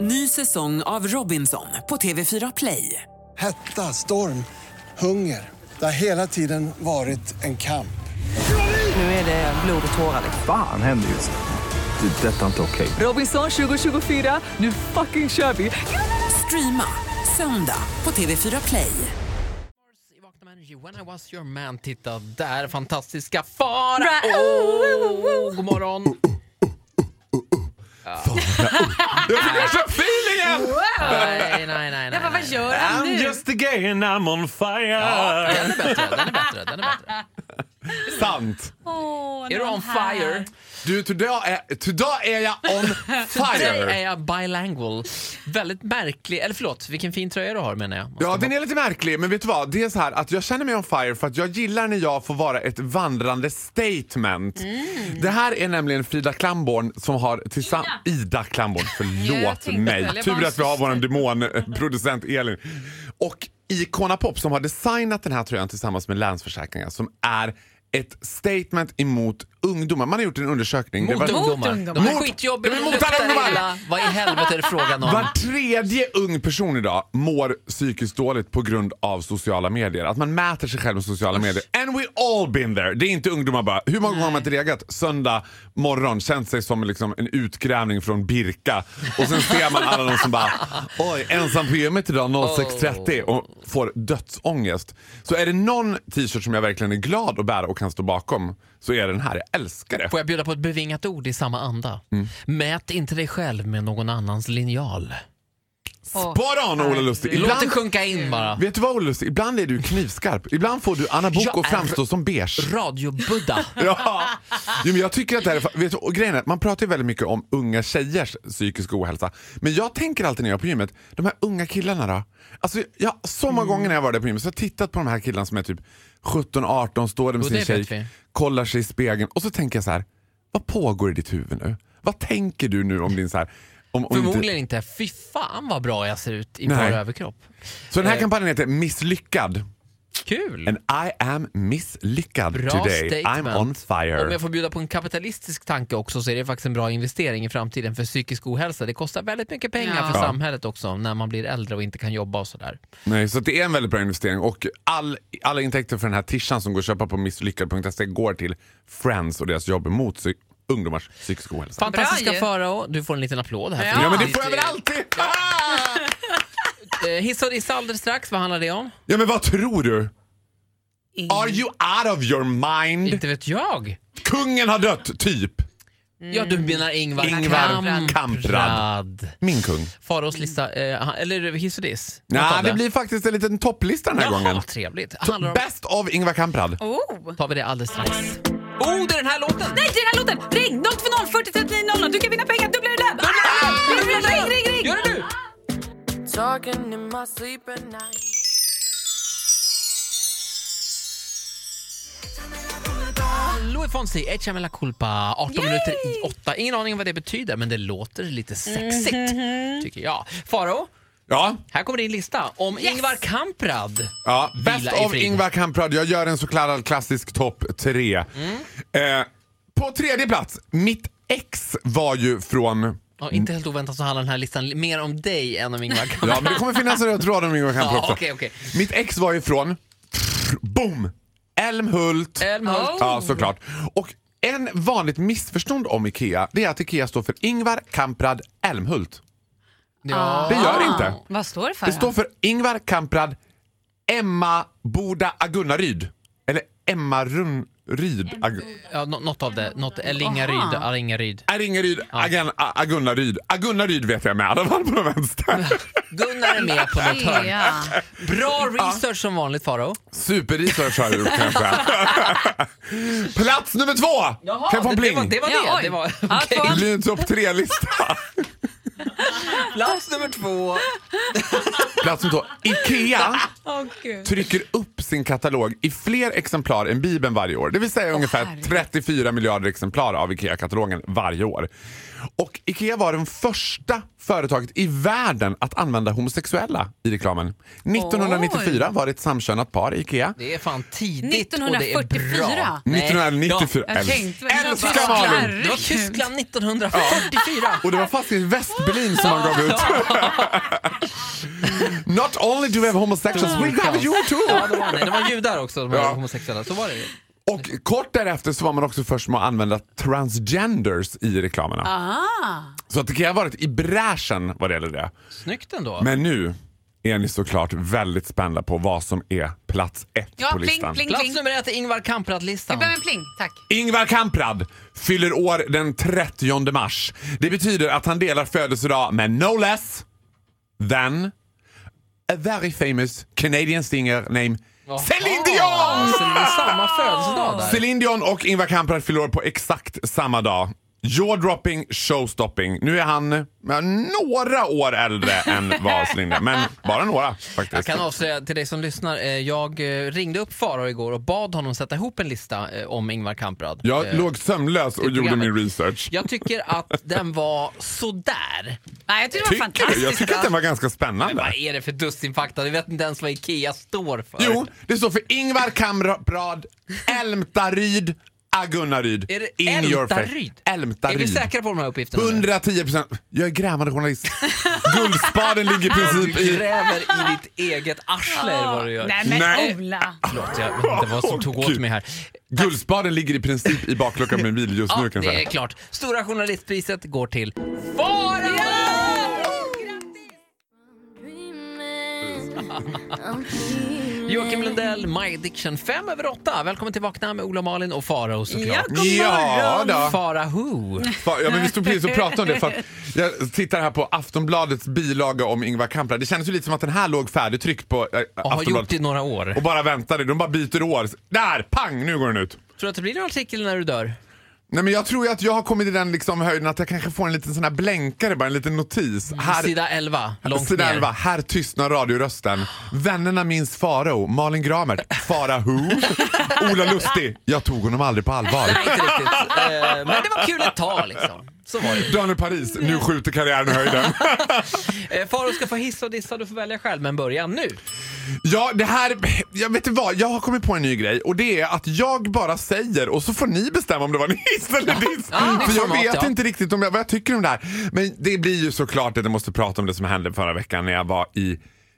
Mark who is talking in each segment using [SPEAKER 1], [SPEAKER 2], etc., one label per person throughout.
[SPEAKER 1] Ny säsong av Robinson på TV4 Play.
[SPEAKER 2] Hetta, storm, hunger. Det har hela tiden varit en kamp.
[SPEAKER 1] Nu är det blod och tårar.
[SPEAKER 3] Fan händer just nu. Det. är Detta är inte okej.
[SPEAKER 1] Robinson 2024, nu fucking kör vi! Streama söndag på TV4 Play.
[SPEAKER 4] I Vakna med Energy, When I was your man. Titta där, fantastiska fara.
[SPEAKER 5] Ra-
[SPEAKER 4] Oh, god morgon.
[SPEAKER 6] Feelingen!
[SPEAKER 4] Nej, nej, nej. nej,
[SPEAKER 5] Jag bara, vad
[SPEAKER 4] nej.
[SPEAKER 5] gör han nu?
[SPEAKER 6] I'm just a gay and I'm on fire!
[SPEAKER 4] Ja, den är bättre, den är bättre, den är bättre.
[SPEAKER 6] Sant!
[SPEAKER 5] Åh, nu
[SPEAKER 4] Är du on
[SPEAKER 5] han här.
[SPEAKER 4] fire?
[SPEAKER 6] Du, today är, today är jag on
[SPEAKER 4] Dig är
[SPEAKER 6] fire!
[SPEAKER 4] jag bilingual. Väldigt märklig, eller förlåt, vilken fin tröja du har menar jag.
[SPEAKER 6] Ja, den är lite märklig, men vet du vad? Det är så här att jag känner mig on fire för att jag gillar när jag får vara ett vandrande statement. Det här är nämligen Frida Klamborn som har tillsammans... Ida. Klamborn,
[SPEAKER 5] jag
[SPEAKER 6] förlåt
[SPEAKER 5] tänkte väl,
[SPEAKER 6] mig.
[SPEAKER 5] jag
[SPEAKER 6] Tur
[SPEAKER 5] bara-
[SPEAKER 6] att vi har vår demonproducent Elin. Och Icona Pop som har designat den här tröjan tillsammans med Länsförsäkringar som är ett statement emot ungdomar. Man har gjort en undersökning. Det
[SPEAKER 4] Mot
[SPEAKER 6] var-
[SPEAKER 4] ungdomar.
[SPEAKER 5] ungdomar.
[SPEAKER 4] De är
[SPEAKER 6] Mot-
[SPEAKER 4] skitjobbiga,
[SPEAKER 6] Ja,
[SPEAKER 4] de
[SPEAKER 6] men mot
[SPEAKER 4] luktar
[SPEAKER 6] alla ungdomar.
[SPEAKER 4] illa. Vad i helvete är det frågan om?
[SPEAKER 6] Var tredje ung person idag mår psykiskt dåligt på grund av sociala medier. Att man mäter sig själv med sociala medier. And we all been there. Det är inte ungdomar bara. Hur många gånger har man inte legat söndag morgon, känt sig som liksom en utgrävning från Birka och sen ser man alla de som bara oj, ensam på gymmet idag 06.30 och får dödsångest. Så är det någon t-shirt som jag verkligen är glad att bära och kan stå bakom så är det den här. Jag älskar det.
[SPEAKER 4] Får jag bjuda på ett bevingat ord i samma anda?
[SPEAKER 6] Mm.
[SPEAKER 4] Mät inte dig själv med någon annans linjal.
[SPEAKER 5] Åh,
[SPEAKER 6] Spot on Ola Lustig!
[SPEAKER 4] Låt det
[SPEAKER 6] Ibland-
[SPEAKER 4] sjunka in bara.
[SPEAKER 6] Vet du vad Ollus? Ibland är du knivskarp. Ibland får du Anna Book
[SPEAKER 4] Jag
[SPEAKER 6] och
[SPEAKER 4] är-
[SPEAKER 6] framstå som beige.
[SPEAKER 4] Radiobudda.
[SPEAKER 6] Ja. Jo, men jag tycker att det här är... fa- Vet du, och grejen är, att man pratar ju väldigt mycket om unga tjejers psykisk ohälsa. Men jag tänker alltid när jag är på gymmet, de här unga killarna då? Alltså, jag, så
[SPEAKER 4] Mm.
[SPEAKER 6] många gånger när jag var där på gymmet så har jag tittat på de här killarna som är typ 17-18, står där med
[SPEAKER 4] Jo,
[SPEAKER 6] sin
[SPEAKER 4] det vet
[SPEAKER 6] tjej,
[SPEAKER 4] vi.
[SPEAKER 6] kollar sig i spegeln och så tänker jag så här, vad pågår i ditt huvud nu? Vad tänker du nu om din så här... Om, om
[SPEAKER 4] Förmodligen inte. Fy fan vad bra jag ser ut i
[SPEAKER 6] Nej.
[SPEAKER 4] bara överkropp.
[SPEAKER 6] Så den här
[SPEAKER 4] Eh.
[SPEAKER 6] kampanjen heter Misslyckad.
[SPEAKER 4] Kul!
[SPEAKER 6] And I am misslyckad
[SPEAKER 4] Mm. Bra
[SPEAKER 6] today.
[SPEAKER 4] statement.
[SPEAKER 6] I'm on fire.
[SPEAKER 4] Om jag får bjuda på en kapitalistisk tanke också så är det faktiskt en bra investering i framtiden för psykisk ohälsa. Det kostar väldigt mycket pengar
[SPEAKER 5] Ja.
[SPEAKER 4] för
[SPEAKER 6] Ja.
[SPEAKER 4] samhället också när man blir äldre och inte kan jobba och sådär.
[SPEAKER 6] Nej, så att det är en väldigt bra investering och all, alla intäkter för den här tishan som går att köpa på misslyckad.se går till Friends och deras jobb mot psy- ungdomars psykisk ohälsa.
[SPEAKER 4] Fantastiska
[SPEAKER 5] ju.
[SPEAKER 4] Farao, du får en liten applåd här.
[SPEAKER 6] Ja,
[SPEAKER 5] Ja,
[SPEAKER 6] men det får jag väl
[SPEAKER 4] Ditt,
[SPEAKER 6] alltid! Ah!
[SPEAKER 4] eh, Hissa och dissa alldeles strax, vad handlar det om?
[SPEAKER 6] Ja, men vad tror du? Are you out of your mind?
[SPEAKER 4] Inte vet jag.
[SPEAKER 6] Kungen har dött, typ.
[SPEAKER 4] Ja, du menar Ingvar,
[SPEAKER 6] Ingvar
[SPEAKER 4] Kamprad.
[SPEAKER 6] Min kung.
[SPEAKER 4] Faraos lista, eh, han- eller hiss och diss? Något
[SPEAKER 6] Nej,
[SPEAKER 4] av
[SPEAKER 6] det blir faktiskt en liten topplista den här gången.
[SPEAKER 4] Jaha, trevligt. Handlar
[SPEAKER 6] Så
[SPEAKER 4] om...
[SPEAKER 6] Best of Ingvar Kamprad.
[SPEAKER 5] Oh.
[SPEAKER 4] tar vi det alldeles strax. Oh, det är den här låten!
[SPEAKER 5] Nej, det är den här låten! Ring 020 40 39 00. Du kan vinna pengar, dubbla din lön! Ah! Ring, ring, ring, ring, ring!
[SPEAKER 4] Gör det nu!
[SPEAKER 7] Talking in my sleep at night.
[SPEAKER 4] Louis Fonsi, Echa Mela Culpa, 18 minuter i 8. Ingen aning om vad det betyder, men det låter lite sexigt, tycker jag. Faro,
[SPEAKER 6] Ja,
[SPEAKER 4] här kommer din lista om Ingvar Kamprad.
[SPEAKER 6] Ja,
[SPEAKER 4] Vila
[SPEAKER 6] Best
[SPEAKER 4] i
[SPEAKER 6] of
[SPEAKER 4] frid.
[SPEAKER 6] Ingvar Kamprad. Jag gör en så kallad klassisk topp tre.
[SPEAKER 4] Mm.
[SPEAKER 6] Eh, på tredje plats, mitt ex var ju från...
[SPEAKER 4] Ja, inte helt oväntat så handlar den här listan li- mer om dig än om Ingvar Kamprad.
[SPEAKER 6] Ja, men det kommer finnas en röd tråd om Ingvar Kamprad
[SPEAKER 4] Ja,
[SPEAKER 6] också.
[SPEAKER 4] okej, okej.
[SPEAKER 6] Mitt ex var ju från... Boom! Älmhult.
[SPEAKER 4] Älmhult.
[SPEAKER 6] Ja, såklart. Och en vanligt missförstånd om IKEA det är att IKEA står för Ingvar Kamprad Älmhult.
[SPEAKER 4] Ja.
[SPEAKER 6] Det gör det inte.
[SPEAKER 5] Ah, Vad står det för?
[SPEAKER 6] Det står för Ingvar Kamprad Emma Boda Agunnaryd. Eller Emma Rund-Ryd. Agu-
[SPEAKER 4] Ja, nå- något av det. Något, eller Ingaryd.
[SPEAKER 5] Aha.
[SPEAKER 4] eller Ingaryd.
[SPEAKER 6] Är Ingeryd, Agan, A- Agunnaryd. Agunnaryd vet jag med, alla fall på den vänster.
[SPEAKER 4] Gunnar är med på något hörn.
[SPEAKER 5] Ja.
[SPEAKER 4] Bra research som vanligt Faro.
[SPEAKER 6] Superresearch har jag gjort kanske. Plats nummer två! kan jag få en
[SPEAKER 4] det, det
[SPEAKER 6] pling?
[SPEAKER 4] var det. Var
[SPEAKER 5] Ja,
[SPEAKER 4] det.
[SPEAKER 5] oj.
[SPEAKER 4] det var,
[SPEAKER 5] Ja,
[SPEAKER 4] okej.
[SPEAKER 5] två.
[SPEAKER 6] det blir en topp tre-lista.
[SPEAKER 4] Plats nummer två.
[SPEAKER 6] Plats nummer två. Ikea
[SPEAKER 5] Åh, gud.
[SPEAKER 6] trycker upp sin katalog i fler exemplar än Bibeln varje år. Det vill säga ungefär
[SPEAKER 5] herregud.
[SPEAKER 6] 34 miljarder exemplar av IKEA-katalogen varje år. Och IKEA var den första företaget i världen att använda homosexuella i reklamen. 1994 var det ett samkönat par i IKEA.
[SPEAKER 4] Det är fan tidigt och det är
[SPEAKER 5] 1944.
[SPEAKER 4] bra.
[SPEAKER 6] 1994.
[SPEAKER 5] Jag tänkte väl-
[SPEAKER 6] Älskar Malin!
[SPEAKER 4] Tyskland. Det var Tyskland 1944.
[SPEAKER 6] Och det var faktiskt Västberlin som han gav ut. Not only do we have homosexuals, we have you
[SPEAKER 4] Ja,
[SPEAKER 6] too!
[SPEAKER 4] det var, nej, det var judar också, de var
[SPEAKER 6] Ja.
[SPEAKER 4] homosexuella. Så var det ju.
[SPEAKER 6] Och kort därefter så var man också först med att använda transgenders i reklamerna.
[SPEAKER 5] Ah.
[SPEAKER 6] Så att det kan ha varit i bräschen vad det gäller det.
[SPEAKER 4] Snyggt ändå.
[SPEAKER 6] Men nu är ni såklart väldigt spända på vad som är plats ett
[SPEAKER 5] Ja,
[SPEAKER 6] på
[SPEAKER 5] pling,
[SPEAKER 6] listan.
[SPEAKER 5] pling.
[SPEAKER 4] Plats nummer ett är Ingvar
[SPEAKER 5] Vi
[SPEAKER 4] Kamprad-listan.
[SPEAKER 5] behöver en pling, tack.
[SPEAKER 6] Ingvar Kamprad fyller år den 30 mars. Det betyder att han delar födelsedag med no less than a very famous Canadian singer named Céline Dion!
[SPEAKER 4] Ja, Celine, samma födelsedag där.
[SPEAKER 6] Céline Dion och Ingvar Kamprad fyller år på exakt samma dag. Jaw-dropping, showstopping. Nu är han eh, några år äldre än vad Céline är, men bara några
[SPEAKER 4] Jag
[SPEAKER 6] faktiskt.
[SPEAKER 4] kan avslöja till dig som lyssnar, eh, jag eh, ringde upp Faro igår och bad honom sätta ihop en lista eh, om Ingvar Kamprad.
[SPEAKER 6] Jag
[SPEAKER 4] Eh,
[SPEAKER 6] låg sömnlös och gjorde
[SPEAKER 4] programmet.
[SPEAKER 6] min research.
[SPEAKER 4] Jag tycker att den var sådär.
[SPEAKER 5] Nej, jag tycker det var
[SPEAKER 6] Tycker du? Jag
[SPEAKER 5] fantastiskt.
[SPEAKER 6] tycker att den var ganska
[SPEAKER 4] Vad
[SPEAKER 6] spännande.
[SPEAKER 4] är det för dussinfakta? Du vet inte ens vad IKEA står för.
[SPEAKER 6] Jo, det står för Ingvar Kamprad, Älmtaryd, Agunnaryd.
[SPEAKER 4] Är det
[SPEAKER 6] In your face.
[SPEAKER 4] Älmtaryd? Är vi
[SPEAKER 6] Älmtaryd.
[SPEAKER 4] säkra på de här uppgifterna? nu?
[SPEAKER 6] 110 procent. Jag är grävande journalist. Guldspaden ligger i
[SPEAKER 4] Du
[SPEAKER 6] princip i...
[SPEAKER 4] gräver i ditt eget arsle är vad du gör.
[SPEAKER 5] Nej men
[SPEAKER 6] Nej.
[SPEAKER 5] Ola.
[SPEAKER 4] Förlåt, jag vet inte vad som tog
[SPEAKER 6] Åh,
[SPEAKER 4] åt
[SPEAKER 6] Gud.
[SPEAKER 4] mig här.
[SPEAKER 6] Guldspaden ligger i princip i bakluckan med en bil just nu
[SPEAKER 4] Ja,
[SPEAKER 6] kan jag
[SPEAKER 4] det är
[SPEAKER 6] säga.
[SPEAKER 4] klart. Stora journalistpriset går till Faro! Joakim Lundell, My Addiction. Fem över åtta. Välkommen till Vakna med Ola, Malin och Farao såklart.
[SPEAKER 5] God
[SPEAKER 6] Ja, då.
[SPEAKER 4] Fara who?
[SPEAKER 6] Fa- Ja, men vi stod precis och pratade om det. För att jag tittar här på Aftonbladets bilaga om Ingvar Kamprad. Det kändes ju lite som att den här låg färdigtryckt på äh,
[SPEAKER 4] Och har gjort
[SPEAKER 6] Aftonbladet.
[SPEAKER 4] i några år.
[SPEAKER 6] Och bara väntade. De bara byter år. Där! Pang! Nu går den ut.
[SPEAKER 4] Tror du att det blir en artikel när du dör?
[SPEAKER 6] Nej, men jag tror ju att jag har kommit i den liksom höjden att jag kanske får en liten sån här blänkare, bara en liten notis. Här,
[SPEAKER 4] Mm, Sida 11, långt
[SPEAKER 6] sida
[SPEAKER 4] ner.
[SPEAKER 6] 11. Här tystnar radiorösten. Vännerna minns Farao, Malin Gramert, Fara Who, Ola Lustig. Jag tog honom aldrig på allvar.
[SPEAKER 4] Nej, inte riktigt. Eh, Men det var kul ett tag liksom. Så var det.
[SPEAKER 6] Daniel Paris, nu skjuter karriären i höjden.
[SPEAKER 4] Eh, Faro ska få hissa och dissa, du får välja själv, men börja nu.
[SPEAKER 6] Ja, det här... Jag vet inte vad, jag har kommit på en ny grej och det är att jag bara säger och så får ni bestämma om det var en hiss eller diss.
[SPEAKER 4] ah, det är
[SPEAKER 6] För jag
[SPEAKER 4] format,
[SPEAKER 6] vet
[SPEAKER 4] ja.
[SPEAKER 6] inte riktigt om jag, vad jag tycker om det här. Men det blir ju såklart att jag måste prata om det som hände förra veckan när jag var i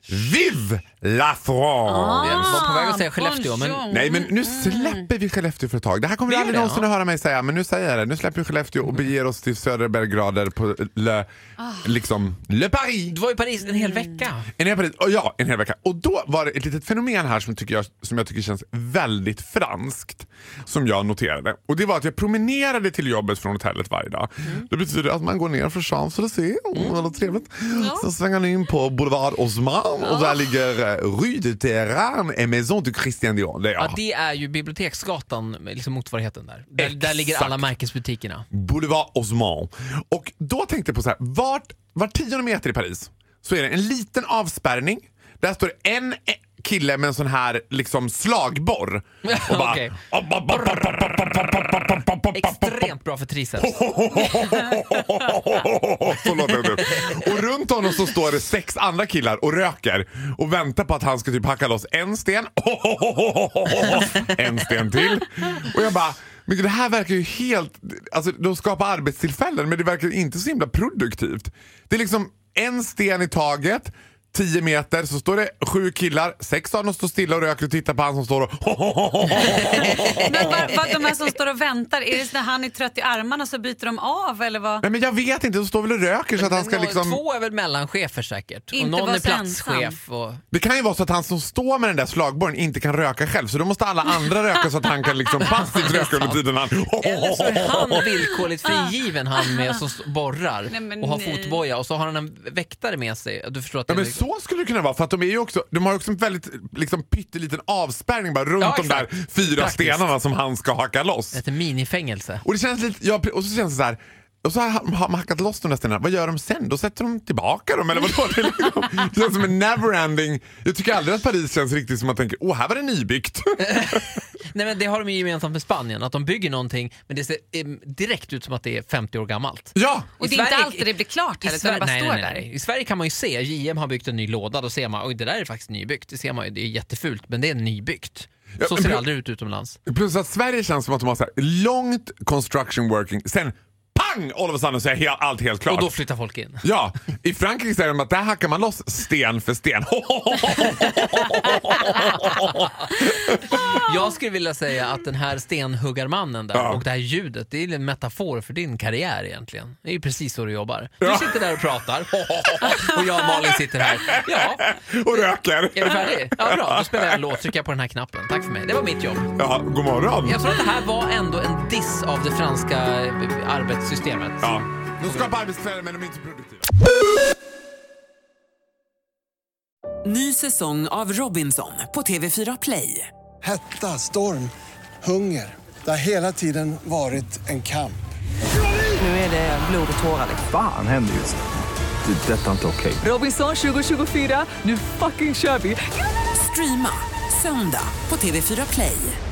[SPEAKER 6] Vive la France!
[SPEAKER 4] Jag var på väg att säga Skellefteå, men
[SPEAKER 5] Ah, bonjour.
[SPEAKER 6] Nej men nu släpper vi Skellefteå för ett tag. Det här kommer du
[SPEAKER 4] gör
[SPEAKER 6] aldrig
[SPEAKER 4] det,
[SPEAKER 6] någonsin
[SPEAKER 4] ja.
[SPEAKER 6] att höra mig säga men nu säger jag det. Nu släpper vi Skellefteå och beger oss till södra Belgrader på le,
[SPEAKER 4] Ah.
[SPEAKER 6] liksom, le Paris.
[SPEAKER 4] du var i Paris en hel
[SPEAKER 5] Mm.
[SPEAKER 4] vecka.
[SPEAKER 6] En hel period, och ja, en hel vecka. Och då var det ett litet fenomen här som, tycker jag, som jag tycker känns väldigt franskt. Som jag noterade. Och det var att jag promenerade till jobbet från hotellet varje dag.
[SPEAKER 4] Mm.
[SPEAKER 6] Det betyder att man går ner för Champs-Élysées, mm, väldigt trevligt. Sen svänger man in på Boulevard Haussmann och där ligger eh, Rue de Terran et Maison du Christian Dior. Där jag
[SPEAKER 4] Ja, det är ju Biblioteksgatan, liksom motsvarigheten där. Där, där
[SPEAKER 6] Exakt.
[SPEAKER 4] ligger alla märkesbutikerna.
[SPEAKER 6] Boulevard Haussmann. Och då tänkte jag på så här, vart, var tionde meter i Paris så är det en liten avspärrning. Där står det en kille med en sån här liksom slagborr. Och bara...
[SPEAKER 4] Okej. Extremt bra för triceps.
[SPEAKER 6] Så låter det typ. Och runt honom så står det sex andra killar och röker och väntar på att han ska typ hacka loss en sten. En sten till. Och jag bara, men gud, det här verkar ju helt... Alltså de skapar arbetstillfällen men det verkar inte så himla produktivt. Det är liksom en sten i taget. 10 meter så står det sju killar, sex av dem står stilla och röker och tittar på han som står och
[SPEAKER 5] Men vad, vad de här som står och väntar, är det när han är trött i armarna så byter de av eller vad?
[SPEAKER 6] Nej men jag vet inte, de står väl och röker så att han ska
[SPEAKER 4] Nå-
[SPEAKER 6] liksom...
[SPEAKER 4] Två är väl mellanchefer säkert.
[SPEAKER 5] Inte
[SPEAKER 4] och någon
[SPEAKER 5] vara
[SPEAKER 4] är
[SPEAKER 5] så
[SPEAKER 4] platschef. Och...
[SPEAKER 6] Det kan ju vara så att han som står med den där slagborren inte kan röka själv så då måste alla andra röka så att han kan liksom passivt röka under tiden han...
[SPEAKER 4] Eller så är han villkorligt frigiven han med som s- borrar
[SPEAKER 5] Ah. Nej, men
[SPEAKER 4] och har
[SPEAKER 5] nej.
[SPEAKER 4] fotboja och så har han en väktare med sig. Du förstår att det
[SPEAKER 6] Ja, men
[SPEAKER 4] är-
[SPEAKER 6] så skulle det kunna vara för att de, är ju också, de har ju också en väldigt liksom, pytteliten avspärrning bara runt
[SPEAKER 4] Ja,
[SPEAKER 6] de där
[SPEAKER 4] exakt.
[SPEAKER 6] fyra
[SPEAKER 4] Praktiskt.
[SPEAKER 6] stenarna som han ska hacka loss.
[SPEAKER 4] ett minifängelse.
[SPEAKER 6] Och det känns lite, ja, och så känns det så här. Och så har har man hackat loss de där stenarna. Vad gör de sen? Då sätter de tillbaka dem eller vadå? Det, är liksom, det känns som en neverending. Jag tycker aldrig att Paris känns riktigt som att man tänker åh här var det nybyggt.
[SPEAKER 4] Nej, men det har de ju gemensamt med Spanien, att de bygger någonting men det ser em, direkt ut som att det är 50 år gammalt.
[SPEAKER 6] ja!
[SPEAKER 5] Och det
[SPEAKER 4] I
[SPEAKER 5] är inte
[SPEAKER 4] Sverige-
[SPEAKER 5] alltid det blir klart
[SPEAKER 4] I
[SPEAKER 5] heller, utan det
[SPEAKER 4] Sverige-
[SPEAKER 5] bara
[SPEAKER 4] nej,
[SPEAKER 5] står
[SPEAKER 4] nej, nej.
[SPEAKER 5] där.
[SPEAKER 4] I Sverige kan man ju se, JM har byggt en ny låda, då ser man oj det där är faktiskt nybyggt. Det ser man ju, det är jättefult men det är nybyggt.
[SPEAKER 6] Ja,
[SPEAKER 4] Så ser
[SPEAKER 6] men-
[SPEAKER 4] det aldrig ut utomlands.
[SPEAKER 6] Plus att Sverige känns som att de har så här, långt construction working, sen pang all of a sudden så är he- allt helt klart.
[SPEAKER 4] Och då flyttar folk in.
[SPEAKER 6] Ja, i Frankrike säger de att där hackar man loss sten för sten.
[SPEAKER 4] Jag skulle vilja säga att den här stenhuggarmannen där
[SPEAKER 6] Ja.
[SPEAKER 4] och det här ljudet, det är en metafor för din karriär egentligen. Det är ju precis så du jobbar. Du sitter där och pratar och jag och Malin sitter här. Ja,
[SPEAKER 6] Och röker.
[SPEAKER 4] är vi färdiga? Ja, bra. Då spelar jag en låt, trycker jag på den här knappen. Tack för mig. Det var mitt jobb.
[SPEAKER 6] Ja, god morgon.
[SPEAKER 4] Jag tror att det här var ändå en diss av det franska eh, arbetssystemet.
[SPEAKER 6] Ja. De skapar arbetstillfällen men de är inte produktiva.
[SPEAKER 1] Ny säsong av Robinson på TV4 Play.
[SPEAKER 2] Hetta, storm, hunger. Det har hela tiden varit en kamp.
[SPEAKER 1] Nu är det blod och tårar.
[SPEAKER 3] Fan händer just det. Det är detta inte okej.
[SPEAKER 1] Robinson 2024, nu fucking kör vi! Streama söndag på TV4 Play.